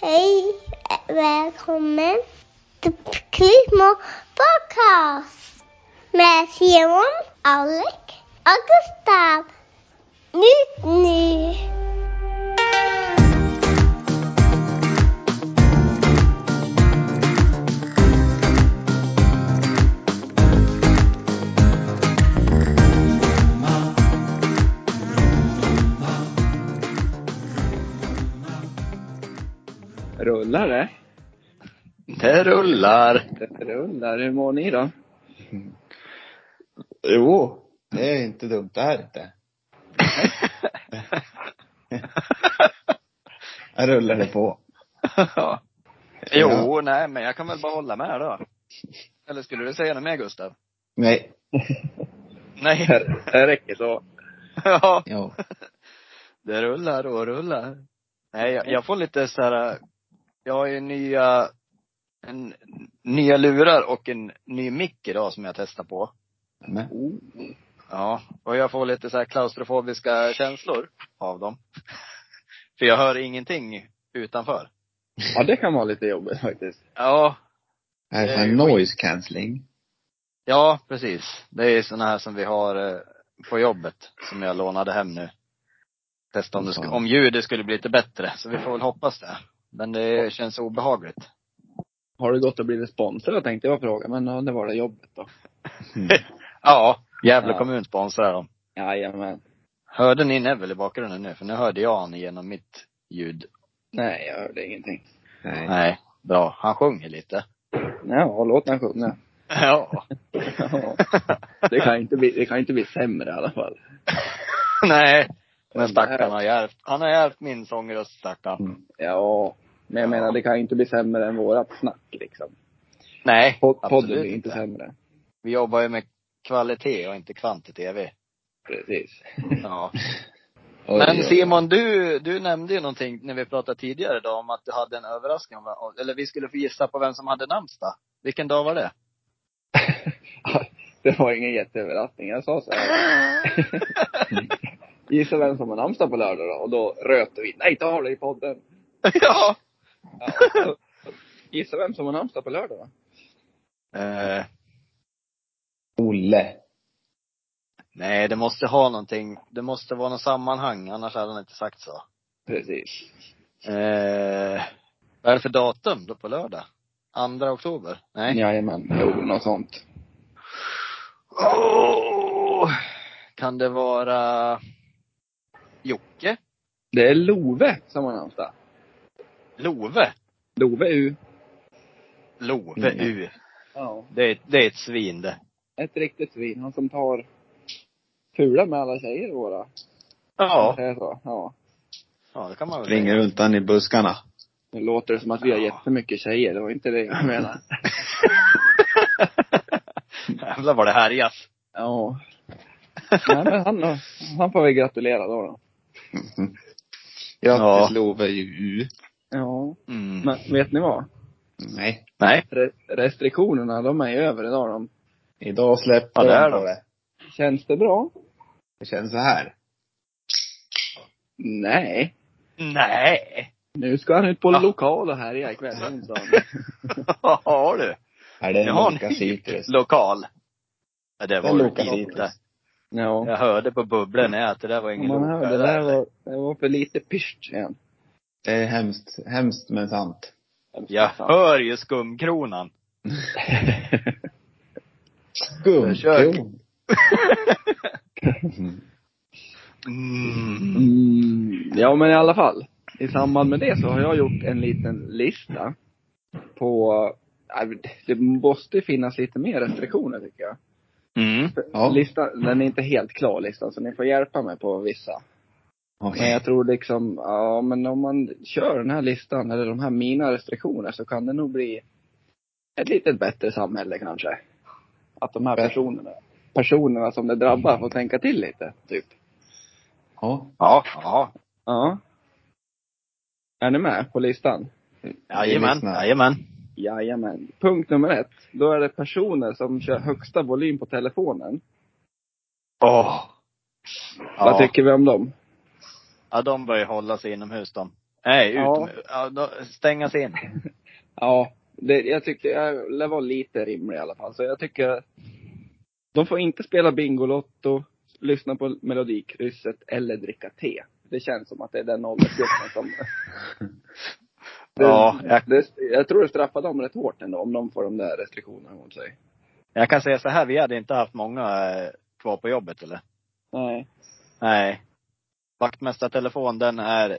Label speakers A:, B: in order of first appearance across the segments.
A: Hej, välkommen till Kristmo Podcast med Simon, Alec och Gustav. Nytt nu!
B: Rullar det?
C: Det rullar.
B: Det rullar. Hur mår ni då?
C: Jo, det är inte dumt det här inte. Här rullar det på.
D: Ja. Jo, nej, men jag kan väl bara hålla med då. Eller skulle du säga något mer, Gustav?
C: Nej.
D: Nej.
B: Det räcker så.
D: ja,
C: Ja.
D: det rullar och rullar. Nej, jag, jag får lite så här. Jag har ju nya, en, nya lurar och en ny mick idag som jag testar på.
C: Men,
D: Ja, och jag får lite så här klaustrofobiska känslor av dem. För jag hör ingenting utanför.
B: Ja, det kan vara lite jobbigt faktiskt.
D: Ja,
C: det är
D: Det
C: det
D: är
C: för
D: ju
C: noise cancelling?
D: Ja, precis. Det är såna här som vi har eh, på jobbet, som jag lånade hem nu. Testa om, det skulle, om ljudet skulle bli lite bättre, så vi får väl hoppas det. Men det känns obehagligt.
B: Har du gått och blivit sponsrad tänkte jag fråga, men ja, det var det jobbet då.
D: Ja, Gävle
B: Ja.
D: kommun sponsrar dem.
B: Jajamän.
D: Hörde ni Neville i bakgrunden nu? För nu hörde jag han genom mitt ljud.
B: Nej, jag hörde ingenting.
C: Nej.
D: Nej, bra. Han sjunger lite.
B: Ja, låt den sjunga.
D: Ja.
B: Ja. Det kan inte bli, det kan inte bli sämre i alla fall.
D: Nej. Men stackarn har hjälpt. Han har hjälpt min sångröst, stackarn.
B: Ja. Men jag menar, det kan ju inte bli sämre än vårat snack liksom.
D: Nej,
B: Pod-
D: absolut
B: Podden blir inte sämre.
D: Vi jobbar ju med kvalitet och inte kvantitet, vi.
B: Precis.
D: Ja.
C: Oj,
D: Men
C: oj, oj.
D: Simon, du, du nämnde ju någonting när vi pratade tidigare idag om att du hade en överraskning. om- Eller vi skulle få gissa på vem som hade namnsdag. Vilken dag var det?
B: Det var ingen jätteöverraskning. Jag sa så här. Gissa vem som har namnsdag på lördag då? Och då röt du in. Nej, ta det i podden.
D: ja!
B: Ja. Gissa vem som har namnsdag på lördag då?
D: Eh,
C: Olle.
D: nej, det måste ha någonting. Det måste vara något sammanhang, annars hade han inte sagt så.
B: Precis.
D: Eh, vad är det för datum då på lördag? Andra oktober? Nej.
B: Jajamän. Jo, något sånt.
D: Åh! kan det vara Jocke?
B: Det är Love som har namnsdag.
D: Love?
B: Love U.
D: Love
C: Mm.
D: U.
B: Ja.
D: Det är, det är ett svin det.
B: Ett riktigt svin. Han som tar fula med alla tjejer våra.
D: Ja.
B: Det är så. Ja.
D: Ja, det kan man väl säga.
C: Ringer runt han i buskarna.
B: Nu låter det som att vi har
D: Ja.
B: jättemycket tjejer. Det var inte det jag menade.
D: Jävlar vad det härjas.
B: Ja. Nej, men han, han får vi gratulera då. då.
C: Grattis
D: Ja.
C: Love ju.
B: Ja.
D: Mm.
B: Men vet ni vad?
C: Nej.
D: Nej.
B: Re- restriktionerna, de är ju över idag. De.
C: Idag
D: Ja,
C: släpper
D: det är
C: de på
D: de.
C: det.
B: Känns det bra?
C: Det känns så här.
B: Nej.
D: Nej.
B: Nu ska han ut på
D: Ja.
B: lokal och härja ikväll. onsdag.
D: Har du?
C: Är det
D: Jag har
C: en
D: en
C: Loka
D: ny
C: Citrus?
D: lokal. Ja, det
C: Det är
D: var
C: Loka
D: det inte.
C: Citrus.
B: Ja.
D: Jag hörde på bubblan nej, att det där var ingen
B: Man
D: Loka.
B: hörde, det där var, det var för lite pyrst igen.
C: Det är hemskt, hemskt men sant.
D: Jag hör ju skumkronan. Försök.
C: Skumkron.
D: Mm.
B: Mm, ja men i alla fall. I samband med det så har jag gjort en liten lista. På, nej, det måste finnas lite mer restriktioner tycker jag.
D: Mm.
C: Ja.
B: Listan, den är inte helt klar listan så ni får hjälpa mig på vissa. Men
C: Okej.
B: jag tror liksom, ja men om man kör den här listan eller de här mina restriktioner så kan det nog bli ett lite bättre samhälle kanske. Att de här
C: Bättre.
B: personerna, personerna som det drabbar får tänka till lite, typ.
C: Ja.
D: Ja. Ja.
B: Ja. Är ni med på listan?
D: Jajamän.
C: lyssnar.
D: Jajamän.
B: Jajamän. Punkt nummer ett. Då är det personer som kör högsta volym på telefonen.
D: Åh.
B: Vad
D: Ja.
B: tycker vi om dem?
D: ja, de bör ju hålla sig inomhus de. Nej,
B: Ja.
D: utom, ja. då stängas in.
B: Ja, det, jag tyckte, jag lär vara lite rimlig i alla fall. Så jag tycker, de får inte spela Bingolotto, lyssna på Melodikrysset eller dricka te. Det känns som att det är den åldersgruppen som... Det,
D: Ja, jag,
B: det, jag tror det straffar dem rätt hårt ändå, om de får de där restriktionerna mot sig.
D: jag kan säga så här, vi hade inte haft många eh, kvar på jobbet eller?
B: Nej.
D: Nej. Vaktmästartelefon, den är,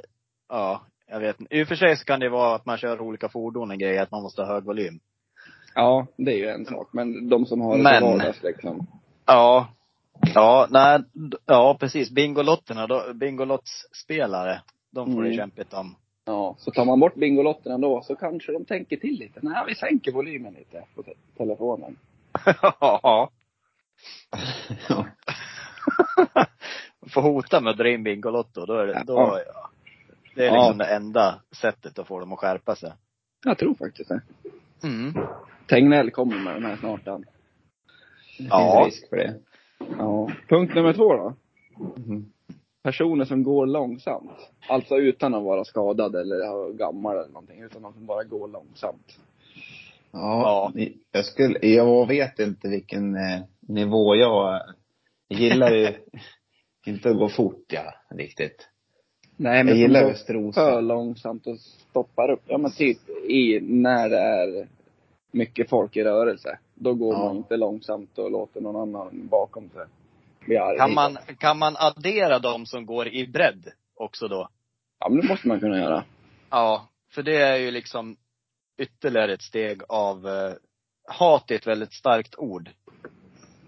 D: ja, jag vet inte. I och för sig så kan det vara att man kör olika fordon och grejer, att man måste ha hög volym.
B: Ja, det är ju en sak. Men de som har det
D: Men-
B: till vardags liksom.
D: Ja. Ja, nej, d- ja precis. Bingolotterna, då- Bingolottspelare, de får det
B: Mm.
D: kämpigt om.
B: Ja, så tar man bort Bingolotterna då, så kanske de tänker till lite. Nej, vi sänker volymen lite på te- telefonen.
D: ja.
C: Ja.
D: Får hota med att dra in Bingolotto, då är det, då,
B: Ja.
D: ja. Det är
B: Ja.
D: liksom det enda sättet att få dem att skärpa sig.
B: Jag tror faktiskt det.
D: Mm.
B: Tegnell kommer med den här snart han.
C: Det finns
D: Ja.
C: risk för det.
B: Ja. Punkt nummer två då.
C: Mhm.
B: Personer som går långsamt. Alltså utan att vara skadad eller ha- gammal eller någonting. Utan att bara går långsamt.
C: Ja, jag skulle, jag vet inte vilken eh, nivå jag gillar ju inte att gå fort ja, riktigt.
B: Nej
C: Jag
B: som
C: gillar
B: går för
C: Västerås.
B: långsamt och stoppar upp. Ja men typ i, när det är mycket folk i rörelse. Då går
C: Ja.
B: man inte långsamt och låter någon annan bakom sig bli arg.
D: Kan, man, kan man addera de som går i bredd också då?
B: Ja men det måste man kunna göra.
D: Ja, för det är ju liksom ytterligare ett steg av eh, hat är ett väldigt starkt ord.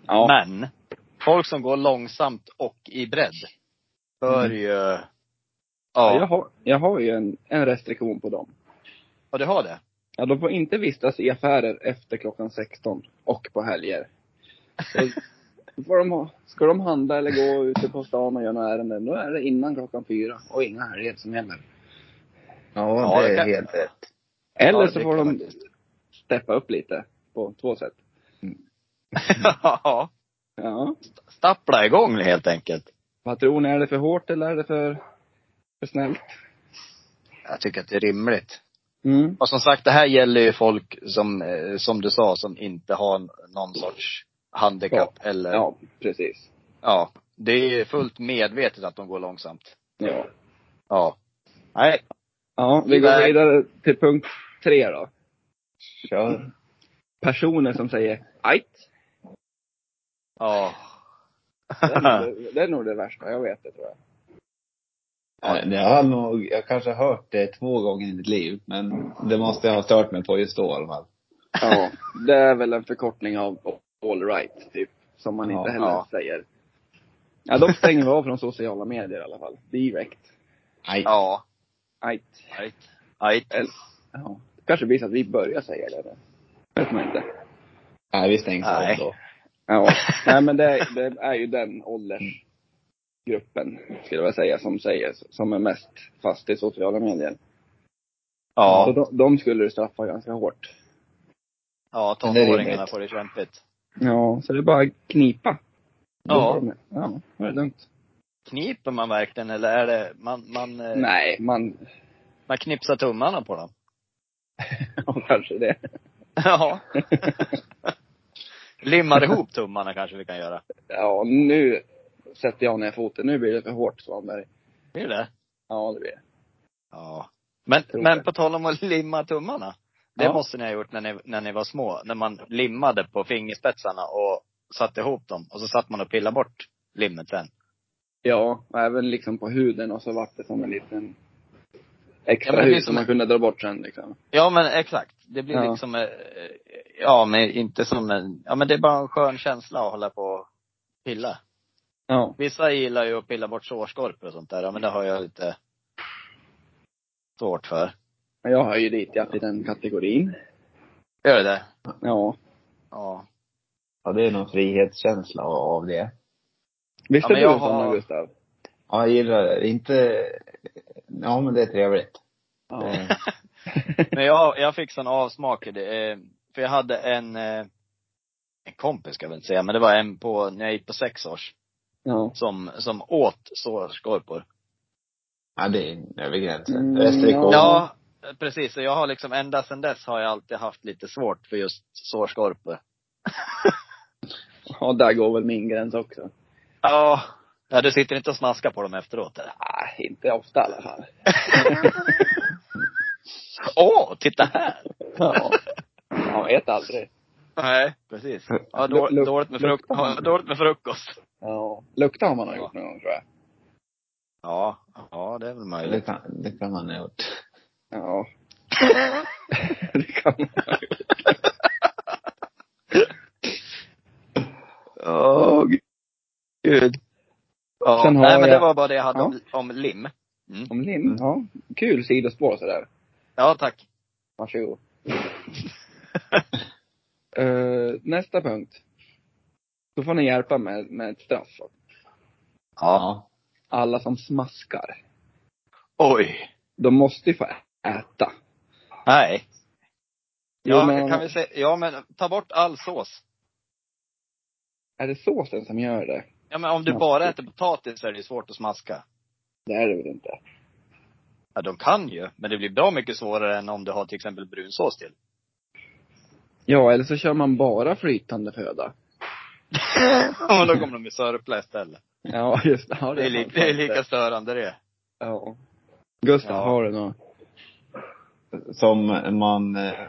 B: Ja.
D: Men, folk som går långsamt och i bredd bör
C: Mm.
D: ju... Ja,
B: Jag, har, jag har ju en, en restriktion på dem.
D: ja, du har det?
B: Ja, de får inte vistas i affärer efter klockan 16 och på helger. Så då får de ha, ska de handla eller gå ute på stan och göra några ärenden, då är det innan klockan fyra och inga helger som gäller.
C: Ja, det
D: det
C: är
D: kan-
C: helt rätt.
B: Eller
D: Ja, det
B: så får
D: kan
B: de
D: faktiskt.
B: steppa upp lite på två sätt.
D: ja.
B: Ja.
D: Stappla igång helt enkelt.
B: Vad tror ni, är det för hårt eller är det för, för snällt?
D: Jag tycker att det är rimligt.
B: Mm.
D: Och som sagt, det här gäller ju folk som, eh, som du sa, som inte har någon sorts handikapp eller
B: Ja, precis.
D: Ja, det är fullt medvetet att de går långsamt.
B: Ja.
D: Ja. Nej.
B: ja, vi går
D: Nej.
B: vidare till punkt tre då.
C: Kör.
B: Personer som säger ajt.
D: Ja.
B: Det är nog det- det är nog det värsta jag vet, det tror jag.
C: Ja, Jag har nog, jag kanske har hört det två gånger i mitt liv, men det måste jag ha stört mig på just då i alla fall.
B: Ja, det är väl en förkortning av all right, typ. Som man inte
C: Ja,
B: heller
D: ja.
B: säger. Ja, de stänger vi av från sociala medier i alla fall. Direkt.
C: Nej.
D: Ja.
B: Ajt.
D: Ajt. Ajt.
B: Eller- Ja. Kanske blir så att vi börjar säga det. Det vet man inte.
C: Nej, vi stängs
D: Nej.
C: av då.
B: Ja. Nej, men det, det är ju den åldersgruppen, skulle jag vilja säga, som säger, som är mest fast i sociala medier. Så
D: Ja.
B: de, de skulle du straffa ganska hårt.
D: Ja,
C: Det är
D: tonåringarna
C: rimligt.
D: får det kämpigt.
B: Ja, så det är bara att knipa. Då
D: Ja.
B: får de- Ja, då är det lugnt.
D: Kniper man verkligen eller är det, man, man, eh,
B: Nej, man,
D: man knipsar tummarna på dem?
B: ja, kanske det.
D: Ja. Limmar ihop tummarna kanske vi kan göra.
B: Ja, nu sätter jag ner foten. Nu blir det för hårt, Svanberg.
D: Är det
B: Ja, det blir det.
D: Ja. Men,
B: tror
D: men
B: det.
D: på tal om att limma tummarna. Det
B: Ja.
D: måste ni ha gjort när ni, när ni var små. När man limmade på fingerspetsarna och satte ihop dem. Och så satt man och pillade bort limmet sen.
B: Ja, och även liksom på huden och så vart det som en liten
D: Ja,
B: extra
D: men det blir
B: hud som
D: som
B: man
D: en-
B: kunde dra bort sen liksom.
D: Ja men exakt. Det blir
B: Ja.
D: liksom, eh, eh, ja men inte som en, ja men det är bara en skön känsla att hålla på och pilla.
B: Ja.
D: Vissa gillar ju att pilla bort sårskorpor och sånt där. Ja men det har jag lite svårt för.
B: Men jag hör ju dit, jag till den kategorin.
D: Gör du det?
B: Ja.
D: Ja.
C: Ja, det är någon frihetskänsla av det.
B: Visst
D: Ja, men
B: är du
D: jag
B: en sån
D: har-
B: då, Gustav?
C: Ja, jag gillar det. Inte, ja men det är trevligt.
B: Ja.
C: Eh,
D: Men jag, jag fick sån avsmak. i det, eh, För jag hade en, eh, en kompis ska jag väl inte säga, men det var en på, när jag gick på sex års,
B: ja.
D: som, som åt sårskorpor.
C: Ja, det är över gränsen.
B: Mm,
C: STK.
D: Ja, precis. Och jag har liksom, ända sedan dess har jag alltid haft lite svårt för just sårskorpor.
B: Ja, där går väl min gräns också.
D: Ja. Ja, du sitter inte och snaskar på dem efteråt eller?
B: Nej, inte ofta i alla fall.
D: Åh, titta här!
B: Ja. Man vet aldrig.
D: Nej, precis. Ja, då,
B: Lu- lu-
D: dåligt, med fruk-
B: luktar
D: ja,
B: man?
D: dåligt med frukost.
B: Ja. Lukta har man har gjort någon gång tror jag.
D: Ja, ja det är väl
C: Det
D: möjligt.
C: kan, det kan man ha gjort.
B: Ja. det kan man ha gjort.
D: Åh, gud. Ja,
B: Sen har
D: nej men
B: jag-
D: det var bara det jag hade
B: Ja.
D: om, om lim. Mm.
B: Om lim, ja. Kul sidospår sådär.
D: Ja, tack.
B: Varsågod. Eh, nästa punkt. Då får ni hjälpa med, med ett straff. då.
D: Ja.
B: Alla som smaskar,
D: Oj.
B: de måste ju få äta.
D: Nej.
B: Jo,
D: Ja,
B: men-
D: kan vi säga, ja men ta bort all sås.
B: Är det såsen som gör det?
D: Ja men om du
B: Ja.
D: bara äter potatis så är det ju svårt att smaska.
B: Det är det väl inte?
D: Ja, de kan ju. Men det blir bra mycket svårare än om du har till exempel brunsås till.
B: Ja, eller så kör man bara flytande föda.
D: Ja, då kommer de ju sörpla istället.
B: Ja, just det. Ja,
D: Det är, li-
B: sant.
D: det är lika störande det.
B: Ja. Gustav,
D: Ja.
B: har du något?
C: Som man... Eh,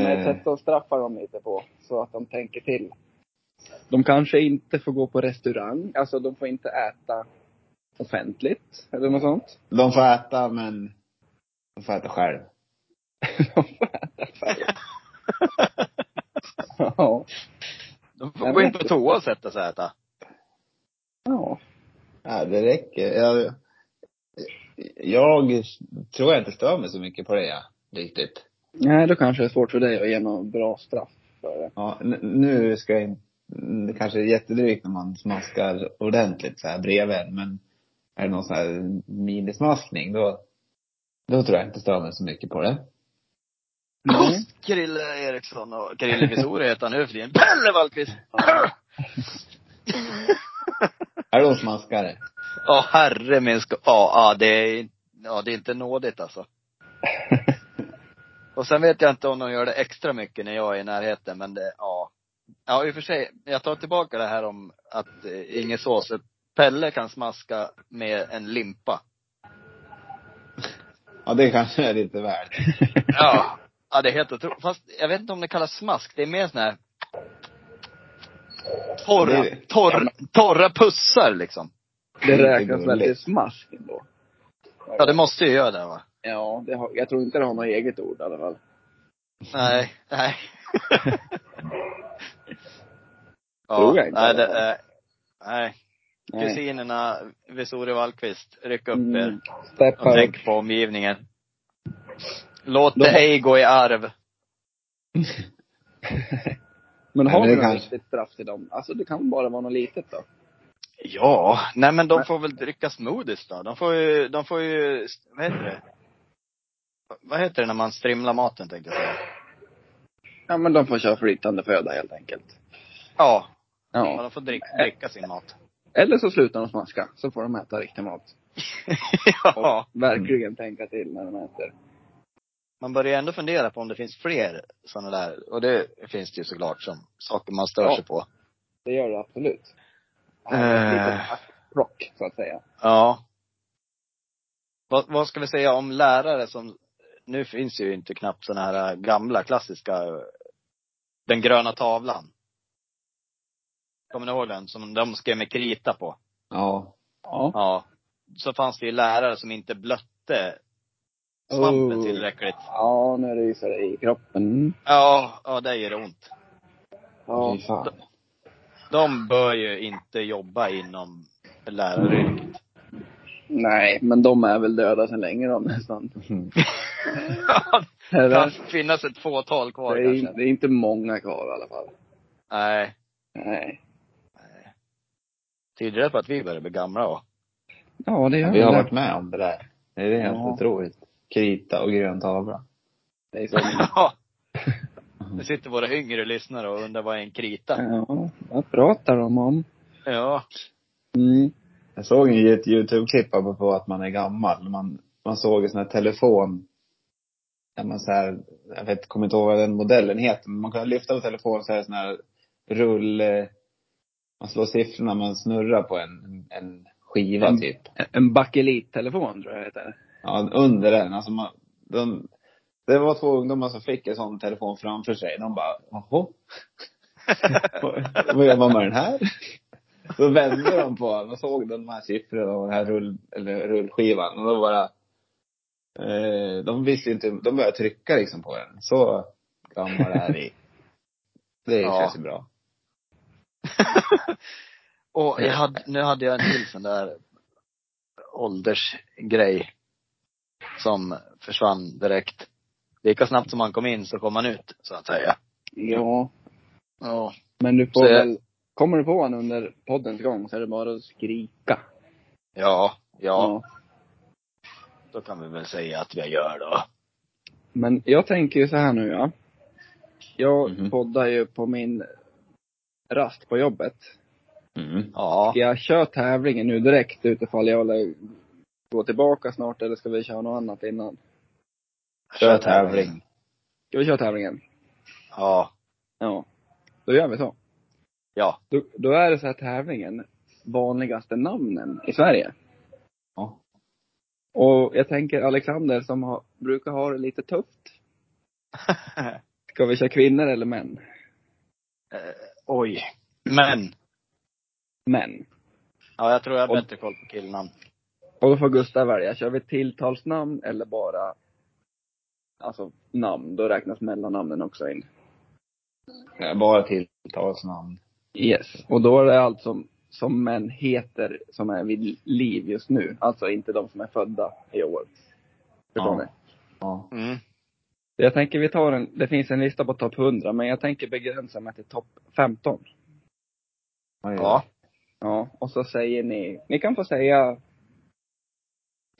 C: eh,
B: att straffa dem lite på, så att de tänker till. De kanske inte får gå på restaurang, alltså de får inte äta offentligt, eller något sånt.
C: de får äta, men de får äta själv.
B: De får äta själv. ja.
D: De
B: Nej,
D: får gå in
B: men-
D: på toa och sätta sig och äta.
B: ja.
C: Ja, det räcker. Jag, jag tror jag inte stör mig så mycket på det, ja. riktigt.
B: Nej, då kanske det är svårt för dig att ge någon bra straff för det.
C: Ja, n- nu ska jag in- mm, Det kanske är jättedrygt när man smaskar ordentligt så här bredvid en, men är det någon sån här minismaskning, då, då tror jag inte stör mig så mycket på det.
B: Mm.
D: Krille Eriksson och Krille Visori heter han nu för tiden. Pelle Wallqvist!
C: Är det någon smaskare?
D: Ja, herre min sko- Ja, ja, det är, ja, det är inte nådigt alltså. Och sen vet jag inte om de gör det extra mycket när jag är i närheten, men det, ja. Ja, i och för sig, jag tar tillbaka det här om att eh, ingen sås. Pelle kan smaska med en limpa.
C: Ja, det kanske är lite väl.
D: Ja. Ja, det är helt otroligt. Fast jag vet inte om det kallas smask. Det är mer sån här
C: Ja,
D: torra,
C: det är det.
D: torr, torra pussar liksom.
B: Det
C: Det
B: räknas
C: går
B: väl till
C: lätt.
B: smask ändå?
D: Ja, det måste ju göra det va?
B: Ja, det har, jag tror inte det har något eget ord i alla fall.
D: Nej, nej. ja,
B: Tror jag inte
D: nej,
B: i alla
D: det,
B: fall.
D: är- nej.
B: Nej.
D: Kusinerna Vesori Wallqvist, ryck upp er.
B: Mm. Steppa
D: Och
B: upp.
D: tänk på omgivningen. Låt
B: De-
D: det ej gå i arv.
B: Men
C: Nej,
B: har
C: men det
B: du något
C: kanske-
B: riktigt straff till dem? Alltså det kan bara vara något litet då.
D: Ja, nej men de får väl dricka smoothies då. De får ju, de får ju, vad heter det? Vad heter det när man strimlar maten tänkte jag säga.
B: Ja men de får köra flytande föda helt enkelt.
D: Ja, ja,
B: Ja.
D: de får dricka, dricka sin mat.
B: Eller så slutar de smaska, så får de äta riktig mat.
D: ja.
B: Verkligen tänka till när de äter.
D: Man börjar ju ändå fundera på om det finns fler sådana där, och det finns det ju såklart som saker man stör
B: Ja.
D: sig på.
B: Det gör det absolut.
D: Eh.
B: Äh... Rock, så att säga.
D: Ja. Vad, vad ska vi säga om lärare som, nu finns ju inte knappt sådana här gamla klassiska, eh, den gröna tavlan. Kommer ni ihåg den? Som de skrev med krita på.
C: Ja.
B: Ja.
D: Ja. Så fanns det ju lärare som inte blötte svampen
B: Oh.
D: tillräckligt.
B: Ja, nu ryser det i kroppen.
D: Ja, ja det gör ont.
B: Ja.
C: Fy fan.
D: De bör ju inte jobba inom läraryrket.
B: Nej, men de är väl döda sedan länge de nästan.
D: Det kan
B: Eller?
D: finnas ett fåtal
B: Det
D: kvar
B: är,
D: kanske.
B: det är inte många kvar i alla fall.
D: Nej.
B: Nej.
D: Tyder det på att vi börjar bli gamla då?
B: Ja, det gör
C: Vi har
B: det.
C: varit med om det där. Det är helt
B: Ja.
C: otroligt. Krita och grön tavla.
B: Det är så.
D: Ja. Nu sitter våra yngre lyssnare och undrar vad är en krita?
B: Ja, vad pratar de om?
D: Ja.
B: Mm.
C: Jag såg ju ett YouTube-klipp på att man är gammal. Man, man såg en sån här telefon. Där man så här, jag vet, kommer inte ihåg vad den modellen heter, men man kunde lyfta på telefonen så här, sån här rull... eh, Man slår siffrorna, man snurrar på en, en skiva
B: Mm.
C: typ.
B: En- En bakelittelefon tror jag det heter.
C: Ja, under den. Alltså man, de, det var två ungdomar som fick en sån telefon framför sig. De bara, jaha? Vad gör man med den här? Så vände de på den och såg de här siffrorna och den här rull, eller rullskivan. Och då bara, eh, de visste ju inte, de började trycka liksom på den. Så gammal är vi. Det
D: Ja.
C: känns ju bra.
D: Och jag hade, nu hade jag en till sån där åldersgrej som försvann direkt. Lika snabbt som man kom in så kom man ut, så att säga.
B: Ja.
D: Ja.
B: Men du
D: Så
B: får
D: jag-
B: väl, kommer du på honom under poddens gång så är det bara att skrika.
D: Ja, ja. Då kan vi väl säga att jag gör då.
B: Men jag tänker ju så här nu ja. Jag
C: Mhm.
B: poddar ju på min rast på jobbet.
C: Mm.
D: Ja.
B: Ska jag köra tävlingen nu direkt utifall jag vill gå tillbaka snart eller ska vi köra något annat innan?
C: Kör tävling.
B: Ska vi köra tävlingen?
D: Ja.
B: Ja. Då gör vi så.
D: Ja.
B: Då, då är det så här tävlingen, vanligaste namnen i Sverige.
C: Ja.
B: Och jag tänker Alexander som har, brukar ha det lite tufft. Ska vi köra kvinnor eller män?
D: Eh, Oj. Men.
B: Män.
D: Ja, jag tror jag har
B: Om-
D: bättre koll på killnamn.
B: Och då får Gustav välja, kör vi tilltalsnamn eller bara alltså namn? Då räknas mellannamnen också in.
C: Bara tilltalsnamn.
B: Yes. Och då är det allt som, som män heter som är vid liv just nu. Alltså inte de som är födda i år. Förstår
C: Ja.
B: ni?
C: Ja.
D: Mm.
B: Jag tänker vi tar en, det finns en lista på topp 100 men jag tänker begränsa mig till topp 15.
C: Oj,
D: Ja.
B: Ja, och så säger ni, ni kan få säga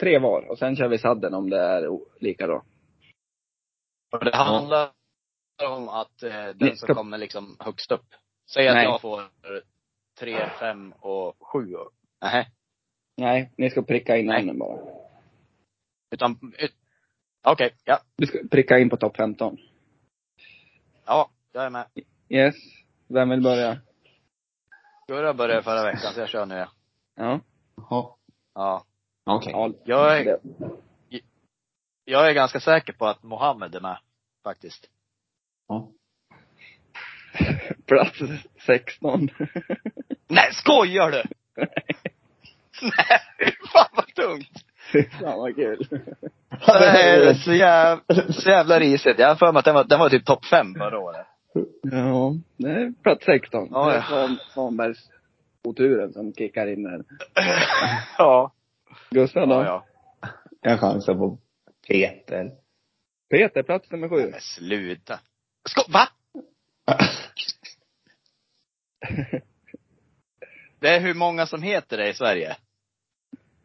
B: tre var och sen kör vi sadden om det är o- lika då.
D: Och det handlar om att eh, den
B: Ni
D: som
B: ska-
D: kommer liksom högst upp. Säg att
B: Nej.
D: jag får tre, fem och sju. och- Nähä.
B: Nej, ni ska pricka in
D: Nej.
B: namnen bara.
D: Utan, ut... okej, ja.
B: Du ska pricka in på topp 15.
D: Ja, jag är med.
B: Yes. Vem vill börja?
D: Gurra började förra veckan så jag kör nu. ja.
B: Ja.
C: Jaha.
D: Ja.
C: Okej.
B: ja
D: Jag är,
B: det-
D: jag är ganska säker på att Mohammed är med. Faktiskt.
C: Ja.
B: Plats 16.
D: Nej, skojar du? Nej, fan vad tungt.
B: Fan vad kul.
D: Nej, det är så jävla, så jävla risigt. Jag har för mig att den var, den var typ topp fem förra året.
B: Ja, det är plats 16.
D: Ja,
B: det är
D: ja.
B: Svan, Svanbergs oturen som kickar in här.
D: Ja.
B: Gustav då?
D: ja, ja.
C: Jag chansar på Peter.
B: Peter, plats nummer sju.
D: Men sluta. Sko- va? Det är hur många som heter det i Sverige.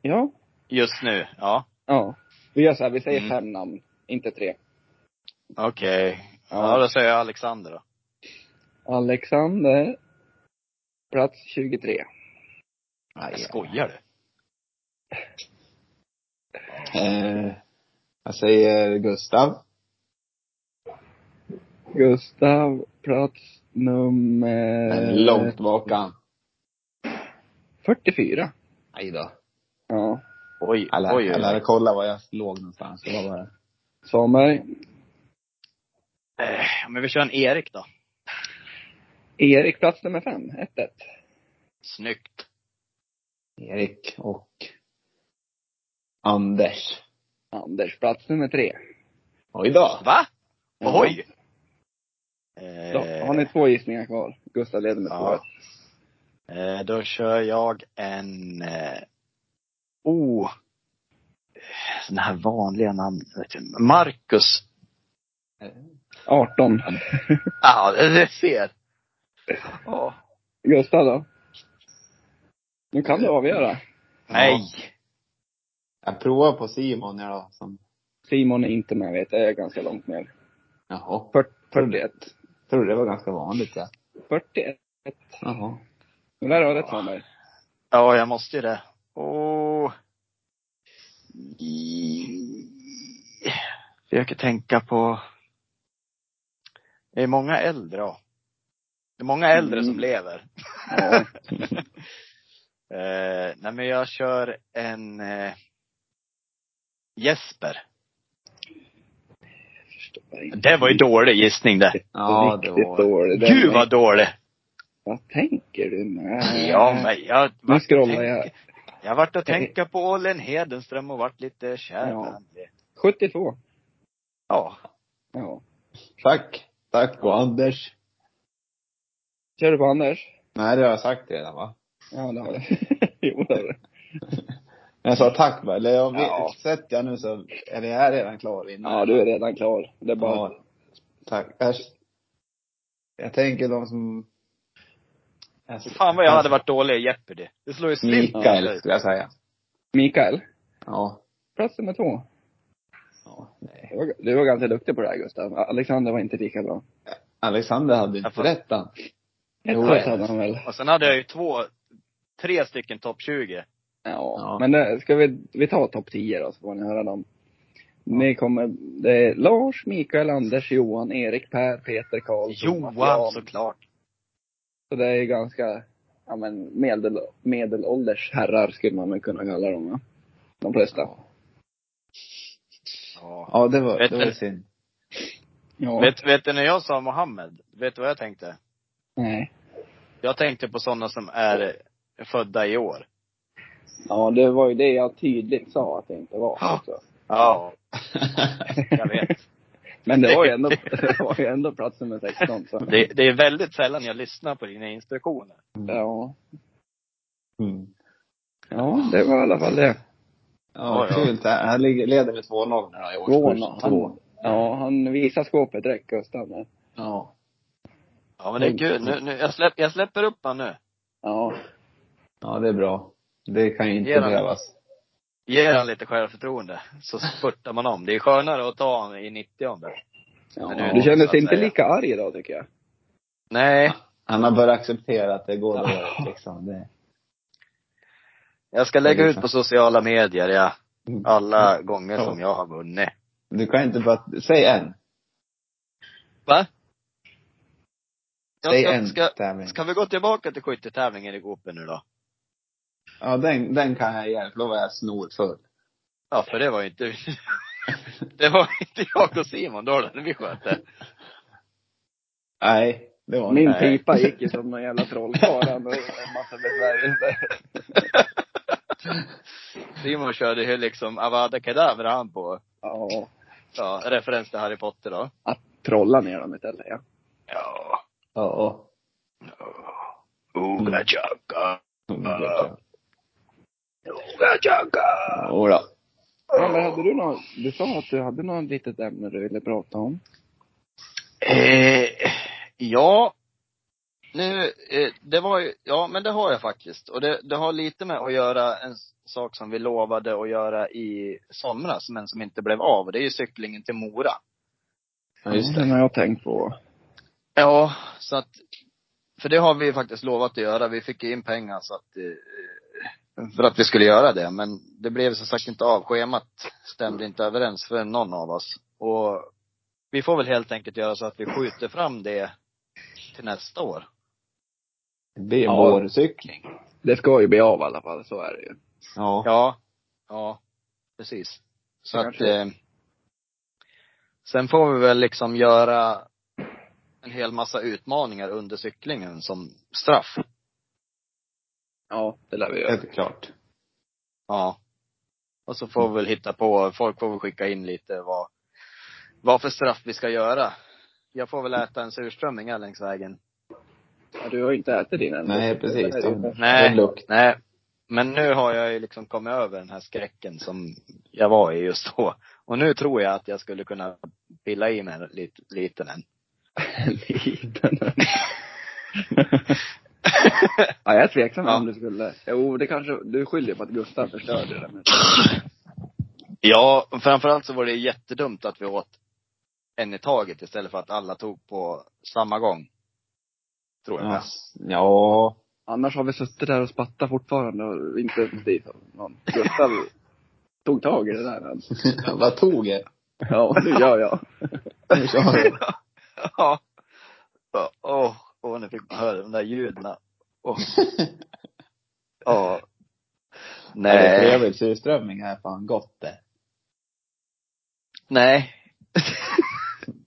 B: Ja.
D: Just nu. Ja.
B: Ja. Vi gör så här, vi säger
D: Mm.
B: fem namn, inte tre.
D: Okej. Ja, då säger jag Alexander då.
B: Alexander. Plats 23.
C: Aj,
D: Skojar du?
C: Eh, jag säger Gustav.
B: Gustav, plats nummer...
C: Men långt bak han.
B: 44.
C: Aj då.
B: Ja.
D: Oj,
C: Alla,
D: oj, oj.
C: alla hade kollat var jag låg någonstans. Det var bara...
B: Svanberg.
D: Eh, Men vi kör en Erik då.
B: Erik, plats nummer fem. 1-1.
D: Snyggt.
C: Erik och Anders.
B: Anders, plats nummer tre.
C: Oj då.
D: Va?
B: Ja.
D: Oj!
B: Då har ni två gissningar kvar. Gustav leder med
D: Eh. ja.
B: två.
D: Eh, Då kör jag en... eh, Oh! Sådana här vanliga namn. vet du. Marcus.
B: 18.
D: Ja, det det ser. Ja.
B: Gustav då? Nu kan du avgöra.
D: Nej.
C: Jag provar på Simon jag då. Som...
B: Simon är inte med vet jag, jag är ganska långt ner.
C: Jaha.
B: 40, 41.
C: Trodde det var ganska vanligt det.
B: 41.
C: Jaha.
B: Det där har rätt Svanberg.
D: Ja, jag måste ju det. Och... Försöker tänka på... Det är många äldre. ja. Det är många äldre som
B: Mm.
D: lever.
B: Ja.
D: Eh, nej men jag kör en eh, Jesper.
B: Jag förstår inte.
D: Det var ju dålig gissning det.
C: Ja, det
B: Riktigt
C: var...
B: dålig. Den
D: Gud
B: är-
D: vad dålig!
B: Vad tänker du nu?
D: Ja men jag
B: Nu
D: vart
B: scrollar
D: tänk-
B: jag.
D: Jag vart att tänka på Ålen Hedenström och vart lite kär
B: Ja.
D: ja.
B: 72.
D: ja.
B: Ja.
C: Tack. Tack och Anders.
B: Kör du på Anders?
C: Nej, det har jag sagt redan va?
B: Ja, det har du. jo, det har du.
C: Jag sa tack va? Eller om vi,
B: Ja.
C: sätter jag nu så, eller jag är redan klar innan.
B: Ja, du är redan klar. Det är bara...
C: Ja. Tack. Jag, jag tänker de som... Alltså,
D: Fan vad jag hade varit dålig i Jeopardy. Det slår ju slint.
C: Mikael skulle jag säga.
B: Mikael,
C: Ja.
B: plats nummer två.
C: ja nej.
B: Du var, du var ganska duktig på det här Gustav. Alexander var inte lika bra.
C: Alexander hade inte
D: Jag får-
C: rätt han.
B: Ett
C: Jo,
B: rätt
C: det.
B: hade han väl.
D: Och sen hade jag ju två, tre stycken topp 20.
B: Ja.
C: Ja.
B: Men det, ska vi, vi ta topp 10 då så får ni höra dem. Ni kommer, det är Lars, Mikael, Anders, Johan, Erik, Per, Peter, Karl,
D: Johan
B: Thomas, Jan.
D: såklart.
B: Så det är ganska, ja men medel, medelålders herrar skulle man väl kunna kalla dem va? De flesta.
C: Ja.
D: Ja.
C: Ja, det var,
D: Vet
C: det var
D: du-
C: synd.
B: Ja.
D: Vet, vet du när jag sa Mohammed, vet du vad jag tänkte?
B: Nej.
D: Jag tänkte på sådana som är födda i år.
B: Ja, det var ju det jag tydligt sa att det inte var. alltså.
D: Ja.
B: också.
D: Ja, jag vet.
B: Men det var ju ändå, det var ju ändå plats nummer 16. Så.
D: Det, det är väldigt sällan jag lyssnar på dina instruktioner.
B: Ja.
C: Mm.
B: ja, det var i alla fall det.
C: Ja,
D: Ja, ja.
C: kul. Han Han ligger- leder med 2-0 nu då i årskurs 2.
B: Han, ja, han visar skåpet direkt, Gustav. där.
C: Ja.
D: Ja men det är kul. Nu, nu, jag, släpp, jag släpper upp han nu.
B: Ja.
C: Ja, det är bra. Det kan ju inte
D: Ger han-
C: behövas.
D: Ger han lite självförtroende, så spurtar man om. Det är skönare att ta han i 90
B: ja.
D: Men nu-
B: du kändes
D: så att
B: inte
D: säga.
B: lika arg idag tycker jag.
D: Nej,
C: Han har börjat acceptera att det går
D: Ja.
C: dåligt liksom. Det...
D: jag ska lägga
C: Det är
D: ut på sociala medier, ja. Alla gånger
C: Ja.
D: som jag har vunnit.
C: Du kan inte bara, säg en.
D: Va?
C: Säg
D: Jag
C: en
D: ska, ska,
C: tävling.
D: ska vi gå tillbaka till skyttetävlingen i Gopen nu då?
C: Ja, den, den kan jag hjälpa. Då var jag snorfull.
D: Ja, för det var ju inte, det var inte jag och Simon då, när vi sköt det.
C: Nej, det var
B: Min
C: inte.
D: Nej.
B: pipa gick ju som någon jävla trollkarl. Han och en massa besvärjelser.
D: Simon körde ju liksom Avada Kedavra han på,
B: Ja.
D: ja, referens till Harry Potter då.
B: Att trolla ner dem istället ja.
D: Ja.
C: Ja. Mm.
D: Uga chaka,
C: ja.
D: uga chaka.
C: Jo då.
B: ja men hade du något, du sa att du hade något litet ämne du ville prata om.
D: Eh, ja. Nu, eh, det var ju, ja men det har jag faktiskt. Och det, det har lite med att göra en s- sak som vi lovade att göra i somras, men som inte blev av. Och det är ju cyklingen till Mora.
C: Ja, just
B: Den
C: det.
B: har jag tänkt på.
D: Ja, så att, för det har vi ju faktiskt lovat att göra. Vi fick in pengar så att, eh, för att vi skulle göra det. Men det blev som sagt inte av. Schemat stämde inte överens för någon av oss. Och vi får väl helt enkelt göra så att vi skjuter fram det till nästa år.
C: Det blir
B: Ja.
C: vårcykling.
B: Det ska ju bli av i alla fall, så är det ju.
C: Ja.
D: Ja, ja, precis. Så
B: Det
D: att,
B: kanske är.
D: eh, sen får vi väl liksom göra en hel massa utmaningar under cyklingen som straff.
B: Ja, det lär vi göra.
C: Helt klart.
D: Ja. Och så får vi väl hitta på, folk får väl skicka in lite vad, vad för straff vi ska göra. Jag får väl äta en surströmming här längs vägen.
B: Ja, du har ju inte ätit din än.
C: Nej, precis. De,
D: Nej.
C: Det lukt.
D: Nej. Men nu har jag ju liksom kommit över den här skräcken som jag var i just då. Och nu tror jag att jag skulle kunna pilla i mig lite, lite den.
B: En liten. ja, jag är tveksam
D: Ja.
B: om du skulle. Jo, det kanske, du skyller på att Gustav förstörde det. Men...
D: Ja, och framförallt så var det jättedumt att vi åt en i taget istället för att alla tog på samma gång. Tror jag.
C: Ja. ja.
B: Annars har vi suttit där och spattat fortfarande och inte precis någon. Gustav tog tag i det där. men-
C: Vad tog jag?
B: Ja, nu gör jag.
C: Nu kör vi.
D: Ja. Ja, Åh, åh, nu fick man höra de där ljuden. Åh. Ja.
C: Nej. Det är
D: Nej.
C: trevligt. Surströmming är fan gott det.
D: Nej.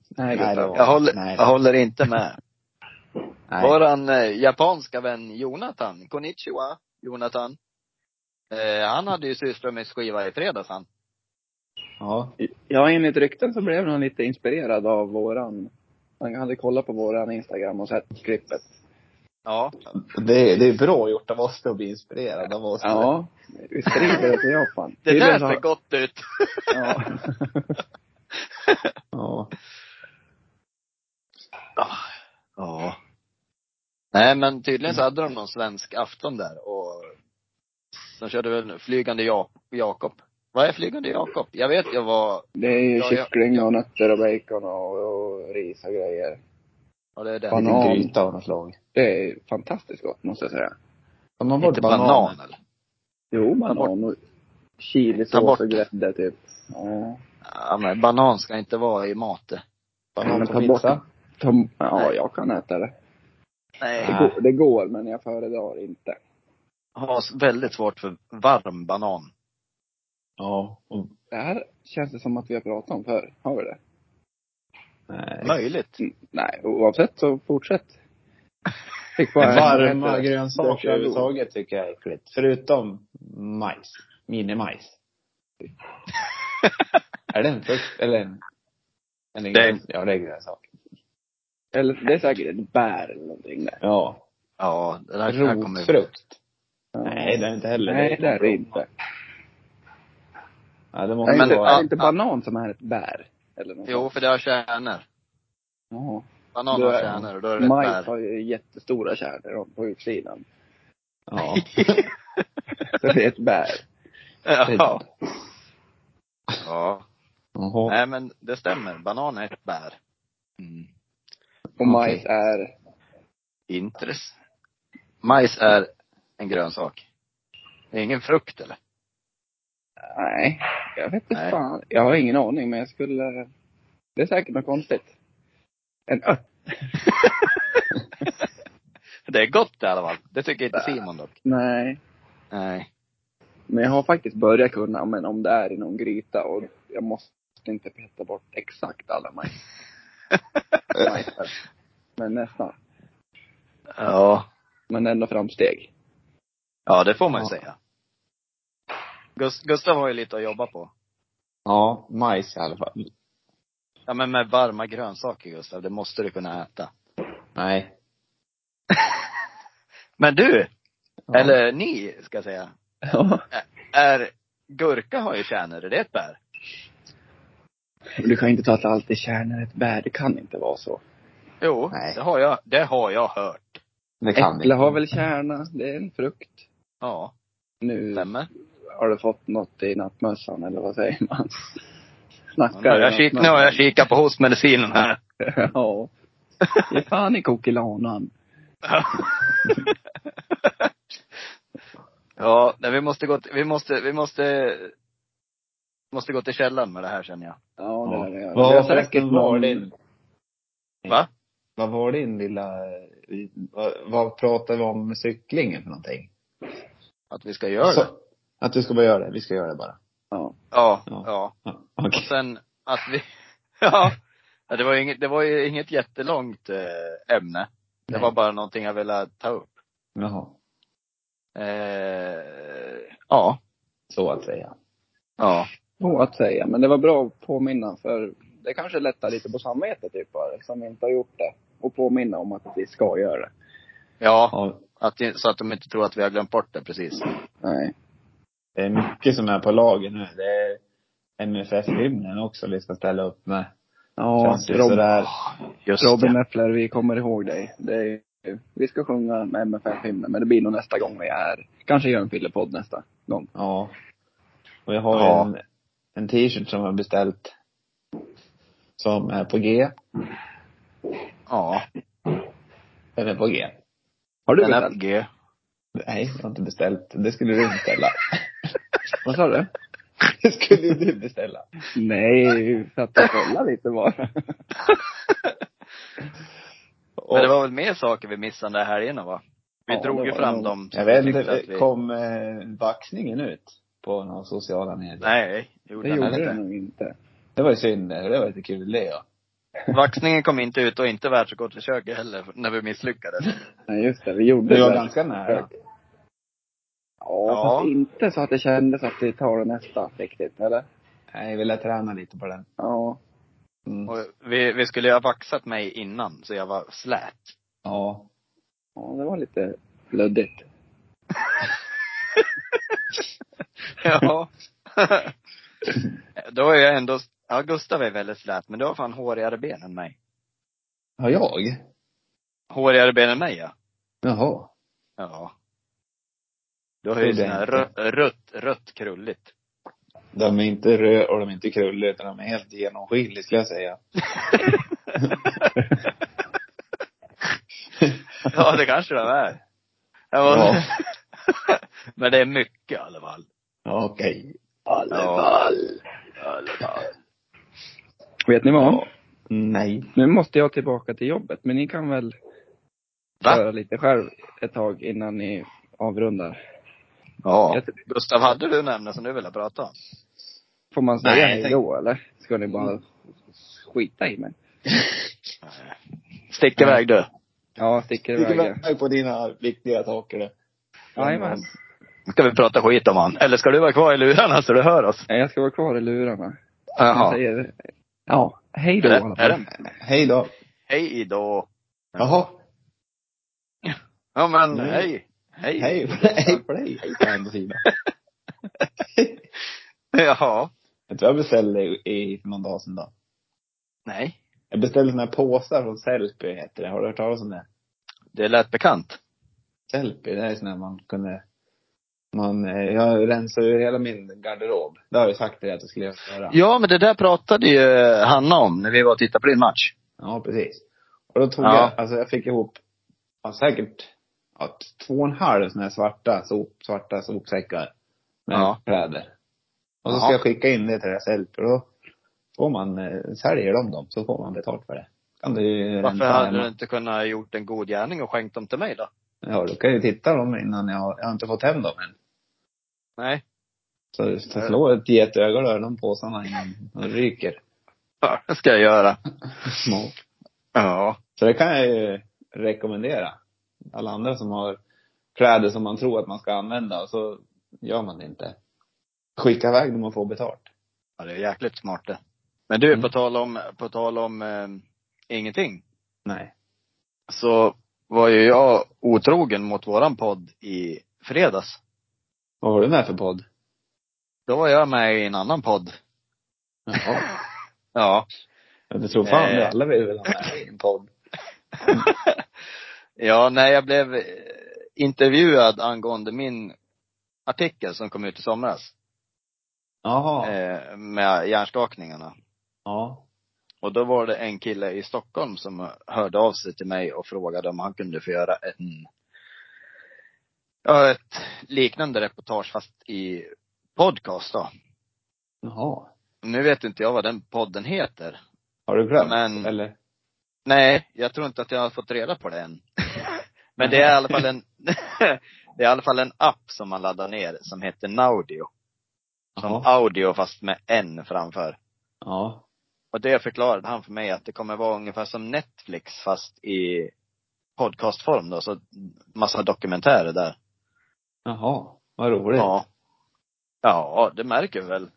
C: Nej, det var-
D: Jag håller,
C: nej.
D: jag håller inte med.
C: Nej.
D: Våran eh, japanska vän Jonathan, konnichiwa, Jonathan. Eh, han hade ju surströmmingsskiva skiva i fredags han.
C: Ja.
B: Ja, enligt rykten så blev han lite inspirerad av våran, han hade kollat på våran Instagram och sett klippet.
D: Ja.
C: Det, är- det är bra gjort av oss att bli inspirerad av oss.
B: Ja, vi sprider det till Japan.
D: Det
B: Tydligen
D: där
B: så
D: ser
B: har-
D: gott ut.
B: Ja.
C: ja.
D: Ja. Nej men tydligen så hade de någon svensk afton där och de körde väl Flygande Ja- Jakob. Vad är Flygande Jakob? Jag vet jag var,
B: Det är ju
D: Ja, ja.
B: kyckling och nötter och bacon och, och ris och grejer.
D: ja det är
C: En
D: det.
B: Banan.
C: liten gryta av något slag.
B: Det är fantastiskt gott måste jag säga.
C: Tar man bort
D: Inte
C: banan?
D: banan eller?
B: Jo,
D: bort-
B: banan och
D: Ta bort.
B: chilisås och grädde typ. Ja,
D: Ja men banan ska inte vara i mat det.
C: Banan
B: Men
C: på
B: ta bort-
C: pizza?
B: Tom, ja jag kan äta det. Det
D: Nej.
B: går, det går men jag föredrar inte.
D: Har väldigt svårt för varm banan.
C: Ja. Och,
B: Det här känns det som att vi har pratat om förr. Har vi det?
C: nej.
D: Möjligt.
B: Mm, Nej, oavsett så fortsätt. Fick bara-
C: Varma
B: Det-
C: grönsaker
B: det-
C: överhuvudtaget tycker jag är äckligt. Förutom majs. Minimajs. är det en frukt eller en... en
D: Det är-
C: gröns- Ja, det är grönsak.
B: Eller det är säkert ett bär eller någonting där.
C: Ja.
D: Ja, det där, det där kommer
C: Rotfrukt. Nej, det är inte heller
B: Nej, det är det inte.
C: Ja, det
B: Det är
C: måste
D: Men-
B: inte,
C: ju
B: är det
C: vara...
B: inte banan som är ett bär? Eller något
D: Jo,
B: sånt?
D: för det har kärnor.
B: Ja.
D: Banan
B: Då
D: har
B: är-
D: kärnor och då är det ett
B: Majs
D: bär.
B: har ju jättestora kärnor på utsidan.
C: Ja.
B: Så det är ett bär.
D: Ja. ja.
C: Jaha.
D: Nej men det stämmer. Banan är ett bär. Mm.
B: Och majs
C: Okej.
B: är,
D: Intress. Majs är en grönsak. Det är ingen frukt eller?
B: nej, jag vet inte
D: Nej.
B: fan. Jag har ingen aning men jag skulle, det är säkert något konstigt. En ört?
D: Det är gott i alla fall. Det tycker inte Simon dock.
B: Nej.
D: Nej.
B: Men jag har faktiskt börjat kunna, men om det är i någon gryta och jag måste inte peta bort exakt alla majs. majsar. Men nästan.
D: Ja.
B: Men ändå framsteg.
D: Ja, det får man ju
C: Ja.
D: säga. Gus- Gustav har ju lite att jobba på.
C: Ja, majs i alla fall.
D: Ja men med varma grönsaker Gustav, det måste du kunna äta.
C: Nej.
D: Men du!
C: Ja.
D: Eller ni, ska jag säga.
B: Ja.
D: Är, gurka har ju kärnor, är det ett bär?
B: Du kan ju inte ta att allt är kärnor ett bär. Det kan inte vara så.
D: Jo,
C: Nej.
D: det har jag, det har jag hört.
C: Det kan
B: Äpple
C: inte.
B: har väl kärna. Det är en frukt.
D: Ja,
B: Nu
D: stämmer.
B: har du fått något i nattmössan, eller vad säger man?
D: Ja,
B: Snackar
D: Nu har jag, kik, nu har jag kikat på hostmedicinen här.
B: nattmössan. Ja. Ge fan i kokilanan.
D: ja, nej, vi måste gå till, vi måste, vi måste, måste gå till källan med det här känner jag.
B: Ja,
C: Ja.
B: det där är jag.
C: Vad
B: Det
C: var
B: är säkert
C: förresten var
B: någon-
C: din...
D: Va?
C: Vad var din lilla... Vad, vad pratade vi om med cyklingen för någonting?
D: Att vi ska göra det.
C: Så- Att du ska bara göra det. Vi ska göra det bara.
B: Ja.
D: Ja,
C: Ja.
D: ja.
C: Ja,
D: Och
C: Okej.
D: sen att vi, ja, ja, det var ju inget, det var ju inget jättelångt eh, ämne. Det
C: Nej.
D: var bara någonting jag ville ta upp.
C: Jaha.
D: Eh, ja,
C: Så att säga.
D: ja.
B: Så att säga. Men det var bra att påminna för det kanske lättar lite på samvetet typ bara, som vi inte har gjort det. Och påminna om att vi ska göra det.
D: Ja,
C: Ja,
D: att, det- så att de inte tror att vi har glömt bort det precis.
B: Nej.
C: det är mycket som är på lager nu. Det är MFF-hymnen också vi ska ställa upp med.
B: Ja,
C: Känns ju
B: Rob,
C: sådär.
D: Just
B: Robin
C: eh,
D: det.
B: Äppler, vi kommer ihåg dig. Det är, vi ska sjunga med MFF-hymnen, men det blir nog nästa gång vi är Kanske gör en fyllepodd nästa gång.
C: Ja. Och jag har ju
D: Ja.
C: en, en t-shirt som jag har beställt. Som är på G.
D: Ja.
C: Den är på G.
B: Har du
D: Den är på
C: eh,
B: beställt?
D: G.
C: Nej, jag har inte beställt. Det skulle du beställa.
B: Vad sa du?
C: Det skulle ju du beställa.
B: Nej, satt och kollade lite bara.
C: Och,
D: Men det var väl mer saker vi missade den här helgen va? Vi
C: ja,
D: drog
C: det
D: ju
C: var
D: fram
C: nog-
D: dem. som
C: Jag
D: vi
C: vet
D: tyckte att
C: inte,
D: vi-
C: kom eh, vaxningen ut? På några sociala medier.
D: Nej, det gjorde
B: Det
D: den
B: gjorde
D: inte.
B: det nog inte.
C: Det var ju synd det, det var lite kul det ja.
D: Vaxningen kom inte ut och inte världsrekordförsöket heller, när vi misslyckades.
C: Mm.
B: Nej, just det. Vi gjorde
C: Det var
B: där.
C: ganska nära.
B: Ja,
D: Ja.
B: fast inte så att det kändes att vi tar det nästa riktigt, eller?
C: Nej, jag ville träna lite på den.
B: Ja.
C: Mm.
D: Och vi, vi skulle ju ha vaxat mig innan, så jag var slät.
C: Ja.
B: Ja, det var lite luddigt.
D: Ja. Då är jag ändå, ja Gustav är väldigt slät, men du har fan hårigare ben än mig.
C: Har jag?
D: Hårigare ben än mig ja.
C: Jaha.
D: Ja. Du har ju
C: Trodde
D: sån här
C: jag
D: rött, rött, rött krulligt.
C: De är inte röd och de är inte krulliga utan de är helt genomskinliga skulle jag säga.
D: Ja, det kanske de är. Jag var...
C: Ja.
D: men det är mycket i alla fall.
C: Ja, Okej.
D: I alla fall.
B: Vet ni vad?
C: Nej.
B: Nu måste jag tillbaka till jobbet, men ni kan väl
D: Va?
B: köra lite själv ett tag innan ni avrundar?
D: Ja.
B: Jag-
D: Gustav, hade du nämligen som du ville prata om?
B: Får man säga
C: Nej, Mm. jag
B: hej
C: tänk-
B: då, eller? Ska ni bara skita i mig?
D: Stick iväg du.
B: Ja, sticker
C: Du kan
B: iväg.
C: vänta på dina viktiga saker du.
B: Jajamän.
D: Ska vi prata skit om han? Eller ska du vara kvar i lurarna så du hör oss?
B: Nej, Jag ska vara kvar i lurarna. Jag
D: Jaha.
B: säger, ja, hej då i alla
D: Är
B: fall.
D: det?
C: Hej då.
D: Hej då.
C: Jaha.
D: Ja men
C: Mm.
D: hej. Hej.
C: Hej, hej på dig. Hej på andra sidan.
D: Jaha.
C: Jag tror jag beställde i, i för någon dag sedan då.
D: Nej.
C: Jag beställde såna här påsar från Sellpy heter det. Har du hört talas om det?
D: Det lät bekant.
C: Sellpy, det är såna här man kunde man, eh, jag rensade ur hela min garderob. Det har jag sagt till dig att jag skulle göra.
D: Ja men det där pratade ju Hanna om när vi var och tittade på din match.
C: Ja, precis. Och då tog
D: Ja.
C: jag, alltså jag fick ihop, ja, säkert, ja, t- två och en halv såna här svarta, sop, svarta sopsäckar. Med
D: Ja.
C: kläder. Och så ska
D: Ja.
C: jag skicka in det till det här säljt, och då får man, eh, säljer de dem så får man betalt för det. Kan du ju
D: Varför
C: rensa
D: hade
C: hemma.
D: du inte kunnat gjort en god gärning och skänkt dem till mig då?
C: Ja, du kan ju titta dem innan jag, har- jag har inte fått hem dem än.
D: Nej.
C: Så, så slå ett getöga då, de påsarna innan de ryker.
D: Vad ska jag göra?
C: Ja.
D: Ja.
C: Så det kan jag ju rekommendera. Alla andra som har kläder som man tror att man ska använda och så gör man det inte. Skicka iväg dem och få betalt.
D: Ja det är jäkligt smart det. Men du,
C: Mm.
D: på tal om, på tal om eh, ingenting.
C: Nej.
D: Så var ju jag otrogen mot våran podd i fredags.
C: Vad har du med för podd?
D: Då var jag med i en annan podd.
C: Jaha.
D: Ja.
C: Jag tror fan
D: Eh.
C: det. Alla vill väl ha med i en podd.
D: Ja, nej jag blev eh, intervjuad angående min artikel som kom ut i somras.
C: Jaha.
D: Eh, med hjärnskakningarna.
C: Ja.
D: Och då var det en kille i Stockholm som hörde av sig till mig och frågade om han kunde få göra en, ja, ett liknande reportage fast i podcast då.
C: Jaha.
D: Nu vet inte jag vad den podden heter.
C: Har du glömt?
D: Men-
C: Eller?
D: Nej, jag tror inte att jag har fått reda på det än. Men det är i alla fall en, det är i alla fall en app som man laddar ner som heter Naudio. Som
C: Jaha.
D: audio fast med en framför.
C: Ja.
D: Och det förklarade han för mig att det kommer vara ungefär som Netflix fast i podcastform då, så massa dokumentärer där.
C: Jaha. Vad roligt.
D: Ja. Ja, det märker vi väl.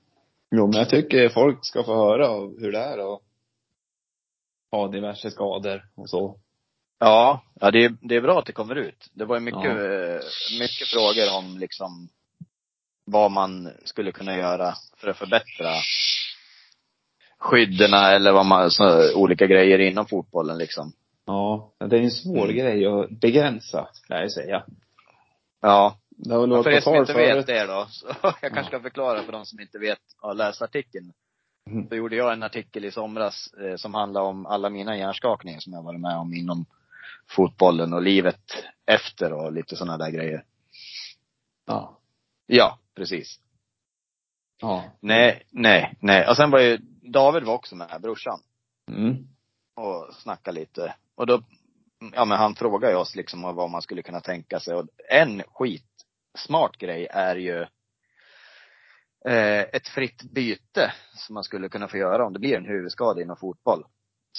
C: Jo, men jag tycker folk ska få höra av hur det är och ha diverse skador och så.
D: Ja, ja det, är, det är bra att det kommer ut. Det var ju mycket,
C: Ja.
D: eh, mycket frågor om liksom vad man skulle kunna göra för att förbättra skydderna eller vad man, så, olika grejer inom fotbollen liksom.
C: Ja. Det är en svår
D: Mm.
C: grej att begränsa, kan jag ju säga.
D: Ja.
C: Det har väl
D: Och
C: varit
D: för er
C: på
D: som
C: tal
D: inte
C: förut.
D: vet det då, så jag kanske ska förklara för de som inte vet och läst artikeln.
C: Mm.
D: Då gjorde jag en artikel i somras eh, som handlade om alla mina hjärnskakningar som jag varit med om inom fotbollen och livet efter och lite sådana där grejer.
C: Ja.
D: Ja, precis.
C: Ja.
D: Nej, nej, nej. Och sen var ju, David var också med, brorsan,
C: Mm.
D: och snackade lite. Och då, ja men han frågade oss liksom vad man skulle kunna tänka sig. Och en skitsmart grej är ju eh, ett fritt byte som man skulle kunna få göra om det blir en huvudskada inom fotboll.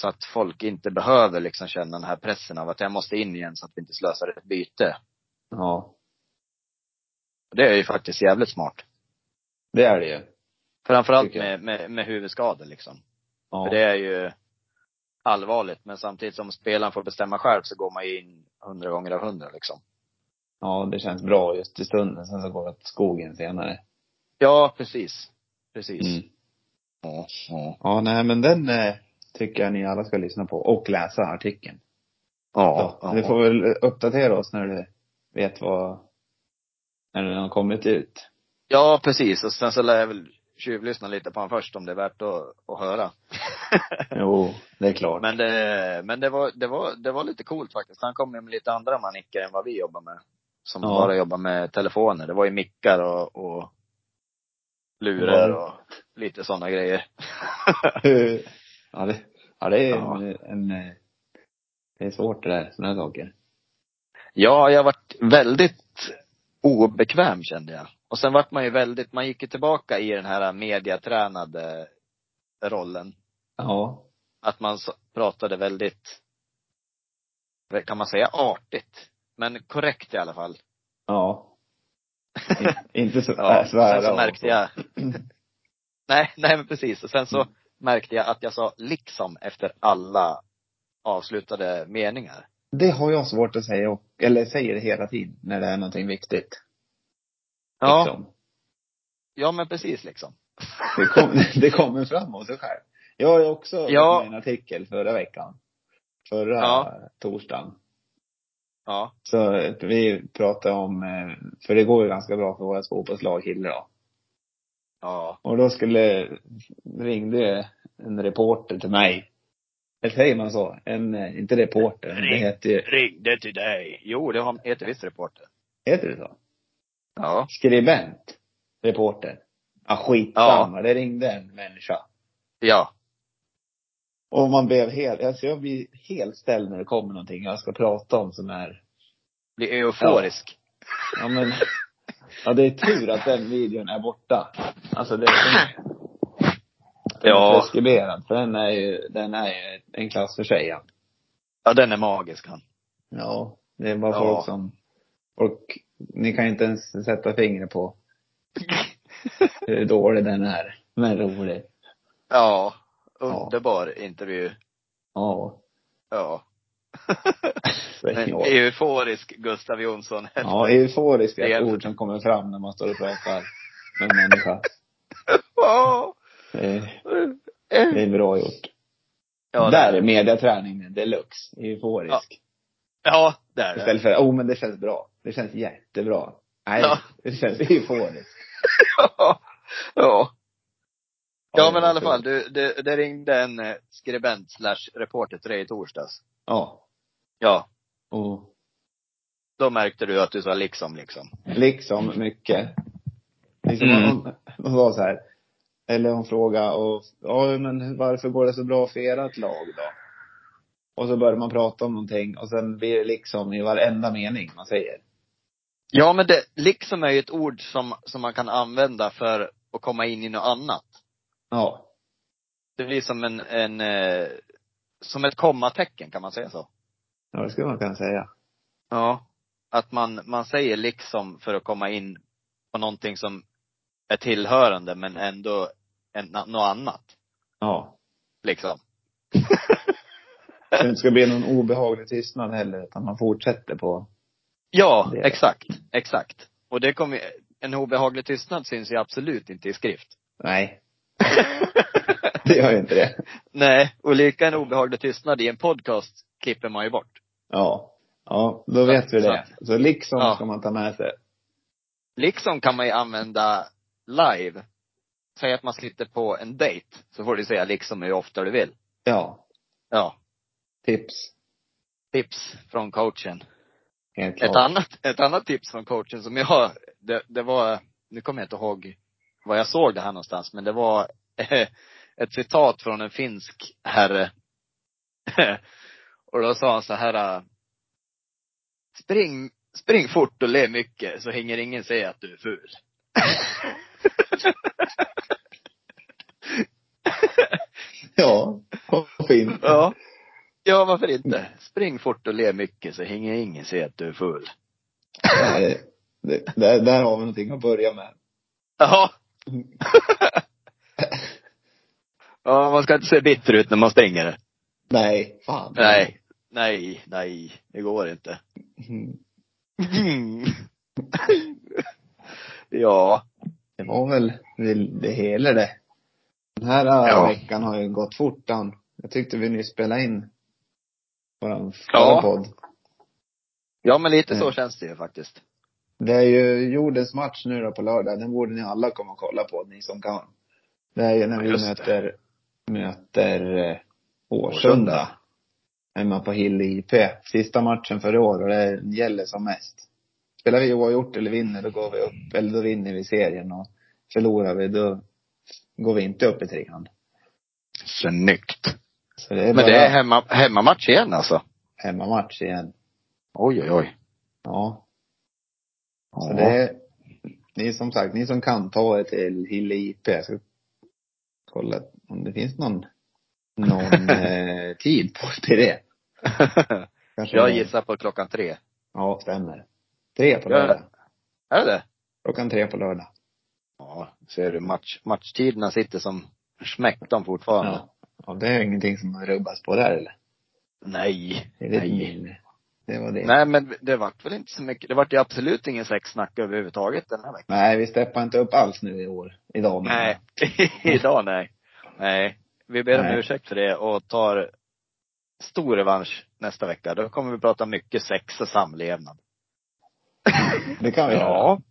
D: Så att folk inte behöver liksom känna den här pressen av att jag måste in igen så att vi inte slösar ett byte.
C: Ja.
D: Och Det är ju faktiskt jävligt smart.
C: Det är det ju.
D: Framförallt
C: Tycker
D: med, med, med huvudskador liksom.
C: Ja.
D: För det är ju allvarligt. Men samtidigt som spelaren får bestämma själv så går man ju in hundra gånger av hundra liksom.
C: Ja, det känns bra just i stunden. Sen så går det åt skogen senare.
D: Ja, precis. Precis.
C: Mm.
D: Ja, ja.
C: Ja, nej men den eh, tycker jag ni alla ska lyssna på och läsa artikeln.
D: Ja,
C: Vi
D: ja.
C: får väl uppdatera oss när du vet vad, när den har kommit ut.
D: ja precis. Och sen så lär jag väl tjuvlyssna lite på honom först om det är värt att, att höra.
C: Jo, det är klart.
D: Men det, men det var, det var, det var lite coolt faktiskt. Han kom ju med lite andra manicker än vad vi jobbar med. Som
C: Ja.
D: bara jobbar med telefoner. Det var ju mickar och, och lurar och lite sådana grejer.
C: ja, det, ja, det är
D: Ja.
C: En, en, eh, det är svårt det där, sådana saker.
D: Ja, jag varit väldigt obekväm kände jag. Och sen vart man ju väldigt, man gick ju tillbaka i den här mediatränade rollen.
C: Ja.
D: Att man så- pratade väldigt, kan man säga artigt? Men korrekt i alla fall.
C: Ja. In, inte så,
D: Ja, alltså
C: äh, svära
D: sen så
C: och-
D: märkte jag. nej, nej men precis. Och sen så märkte jag att jag sa liksom efter alla avslutade meningar.
C: Det har jag svårt att säga, och, eller säger det hela tiden när det är någonting viktigt.
D: Ja,
C: Liksom.
D: ja men precis liksom.
C: Det, kom, det kommer fram av sig själv. Jag har ju också
D: Ja.
C: ja. en artikel förra veckan. Förra
D: Ja.
C: torsdagen.
D: Ja,
C: Så att vi pratade om, eh, för det går ju ganska bra för våra fotbollslag Hille då.
D: ja,
C: Och då skulle, ringde en reporter till mig. Eller säger man så? En, eh, inte reporter, men det
D: Ring.
C: heter ju,
D: ringde till dig. Jo, det har- heter visst reporter.
C: heter det så?
D: Ja.
C: Skribent. Reporter. Ja, skitsamma. Det ringde en människa.
D: Ja.
C: Och man blev helt, alltså jag blir helt ställd när det kommer någonting jag ska prata om som är
D: Blir euforisk.
C: Ja men, ja det är tur att den videon är borta. Alltså det är den är
D: Ja.
C: preskriberad, för den är ju, den är ju en klass för sig. ja.
D: Ja, den är magisk han.
C: Ja. Det är bara
D: Ja.
C: folk som, och ni kan ju inte ens sätta fingret på hur dålig den är. Men rolig.
D: Ja. Underbar intervju.
C: Ja.
D: Ja. En
C: Senior.
D: euforisk Gustav Jonsson.
C: Ja, euforisk
D: Det
C: är
D: är-
C: ett ord som kommer fram när man står och pratar med en människa.
D: Ja.
C: Det är, det är bra gjort.
D: Ja,
C: Där
D: det-
C: är mediaträningen deluxe. Euforisk.
D: Ja. Ja, där är det.
C: Istället för, oh men det känns bra. Det känns jättebra. Nej,
D: Ja.
C: det känns euforiskt.
D: Ja. Ja. Ja, men i alla
C: det-
D: fall. Du, du, det ringde en eh, skribent slash reporter till dig i torsdags.
C: Ja.
D: Ja.
C: Och
D: Då märkte du att du sa liksom, liksom.
C: liksom mycket. Liksom
D: Mm.
C: hon, hon var så här. Eller hon frågade, och, ja men varför går det så bra för ert lag då? Och så börjar man prata om någonting och sen blir det liksom i varenda mening man säger.
D: Ja, men det, liksom är ju ett ord som, som man kan använda för att komma in i något annat.
C: Ja.
D: Det blir som en, en eh, som ett kommatecken, kan man säga så?
C: Ja, det skulle man kunna säga.
D: Ja. Att man, man säger liksom för att komma in på någonting som är tillhörande men ändå en, något annat.
C: Ja.
D: Liksom.
C: Så det inte ska bli någon obehaglig tystnad heller, utan man fortsätter på
D: Ja,
C: Det är det.
D: exakt. Exakt. Och det kommer ju- en obehaglig tystnad syns ju absolut inte i skrift.
C: Nej. det gör ju inte det.
D: Nej, och lika en obehaglig tystnad i en podcast klipper man ju bort.
C: Ja. Ja, då vet vi det. Så liksom
D: Ja.
C: ska man ta med sig.
D: Liksom kan man ju använda live. Säg att man sitter på en dejt, så får du säga liksom hur ofta du vill.
C: Ja.
D: Ja.
C: Tips.
D: tips från coachen.
C: Helt
D: Ett,
C: klart.
D: annat, ett annat tips från coachen som jag det, det var, nu kommer jag inte ihåg var jag såg det här någonstans, men det var eh, ett citat från en finsk herre. och då sa han så här, spring, spring fort och le mycket så hinner ingen säga att du är ful.
C: Ja, varför inte?
D: Ja. Ja, varför inte? Spring fort och le mycket så hinner ingen se att du är full.
C: Ja, det, det, där, där har vi någonting att börja med.
D: Ja. ja, man ska inte se bitter ut när man springer.
C: Nej, fan.
D: Nej. Nej, nej, det går inte.
C: Mm.
D: ja.
C: Det var väl det, det hela det. Den här äh,
D: Ja.
C: veckan har ju gått fort Dan. Jag tyckte vi nyss spelade in våran
D: Ja.
C: förra podd.
D: Ja, men lite så
C: Mm.
D: känns det ju faktiskt.
C: Det är ju Jordens match nu då på lördag. Den borde ni alla komma och kolla på, ni som kan. Det är ju när vi
D: Just det.
C: möter, möter eh,
D: Årsunda.
C: Årsunda. Hemma på Hill IP. Sista matchen för i år och det gäller som mest. Spelar vi oavgjort eller vinner då går vi upp, eller då vinner vi serien och förlorar vi då går vi inte upp i trean.
D: Snyggt.
C: Så det är
D: Men
C: bara
D: det är hemma, hemmamatch igen alltså.
C: hemmamatch igen.
D: Oj, oj, oj.
C: Ja. Så
D: Ja.
C: det är, ni som sagt, ni som kan ta er till Hille IP. Jag ska kolla om det finns någon, någon eh, tid på till det. Kanske
D: Jag gissar på klockan tre.
C: Ja, stämmer. Tre på
D: Ja.
C: lördag.
D: Är det det?
C: Klockan tre på lördag.
D: Ja, ser du match, matchtiderna sitter som smäck de fortfarande.
C: Ja. ja. Det är ingenting som rubbas på där eller?
D: Nej.
C: Det är lite
D: Nej.
C: mindre. Det var det.
D: Nej men det vart väl inte så mycket, det vart ju absolut ingen sexsnack överhuvudtaget den här veckan.
C: Nej, vi steppar inte upp alls nu i år. Idag men-
D: Nej. Idag nej. Nej. Vi ber om
C: Nej.
D: ursäkt för det och tar stor revansch nästa vecka. Då kommer vi prata mycket sex och samlevnad.
C: Det kan vi göra.
D: Ja.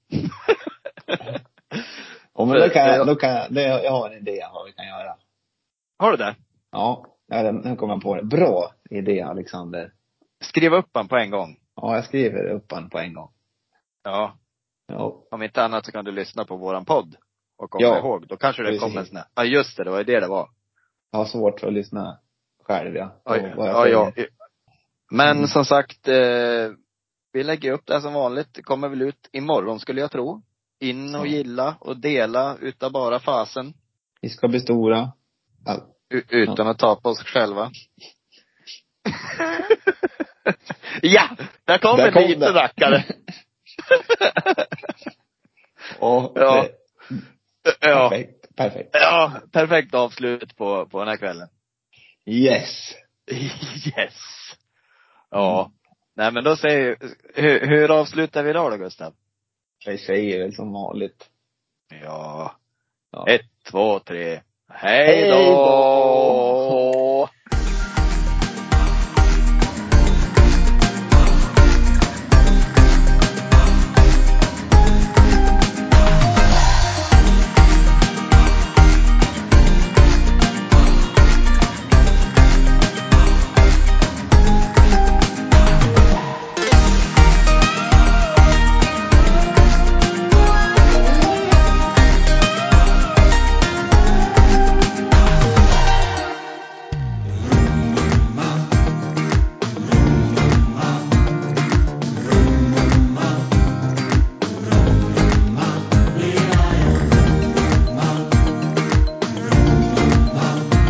C: Ja. Men då kan
D: För-
C: jag, då kan jag, det, jag har en idé vad vi kan göra.
D: Har du det?
C: Ja, ja, den- nu kommer jag på det. Bra idé Alexander.
D: Skriv upp den på en gång.
C: Ja, jag skriver upp den på en gång.
D: Ja.
C: Ja.
D: Om inte annat så kan du lyssna på våran podd. Och komma
C: Ja.
D: ihåg. Då kanske det
C: Precis.
D: kommer en sån här. Ja just det, det var ju det det var.
C: Jag har svårt för att lyssna själv ja. på
D: Ja,
C: vad jag
D: ja, ja.
C: säger.
D: Men
C: Mm.
D: som sagt, eh, vi lägger upp det här som vanligt. Det kommer väl ut imorgon skulle jag tro. In och
C: Så.
D: gilla och dela utav bara fasen.
C: Vi ska bli stora. Ja,
D: U- utan att ta på oss själva. ja! Där kom
C: Där
D: en
C: kom
D: liten
C: den.
D: rackare.
C: och,
D: Ja.
C: det-
D: ja.
C: Perfekt. Perfekt.
D: ja, perfekt avslut på, på den här kvällen.
C: Yes.
D: yes! Ja. Nej men då säger, hur, hur avslutar vi idag då Gustav?
C: Vi säger väl som vanligt.
D: Ja.
C: Ja.
D: Ett, två, tre. Hej
C: Hej
D: då!
C: då!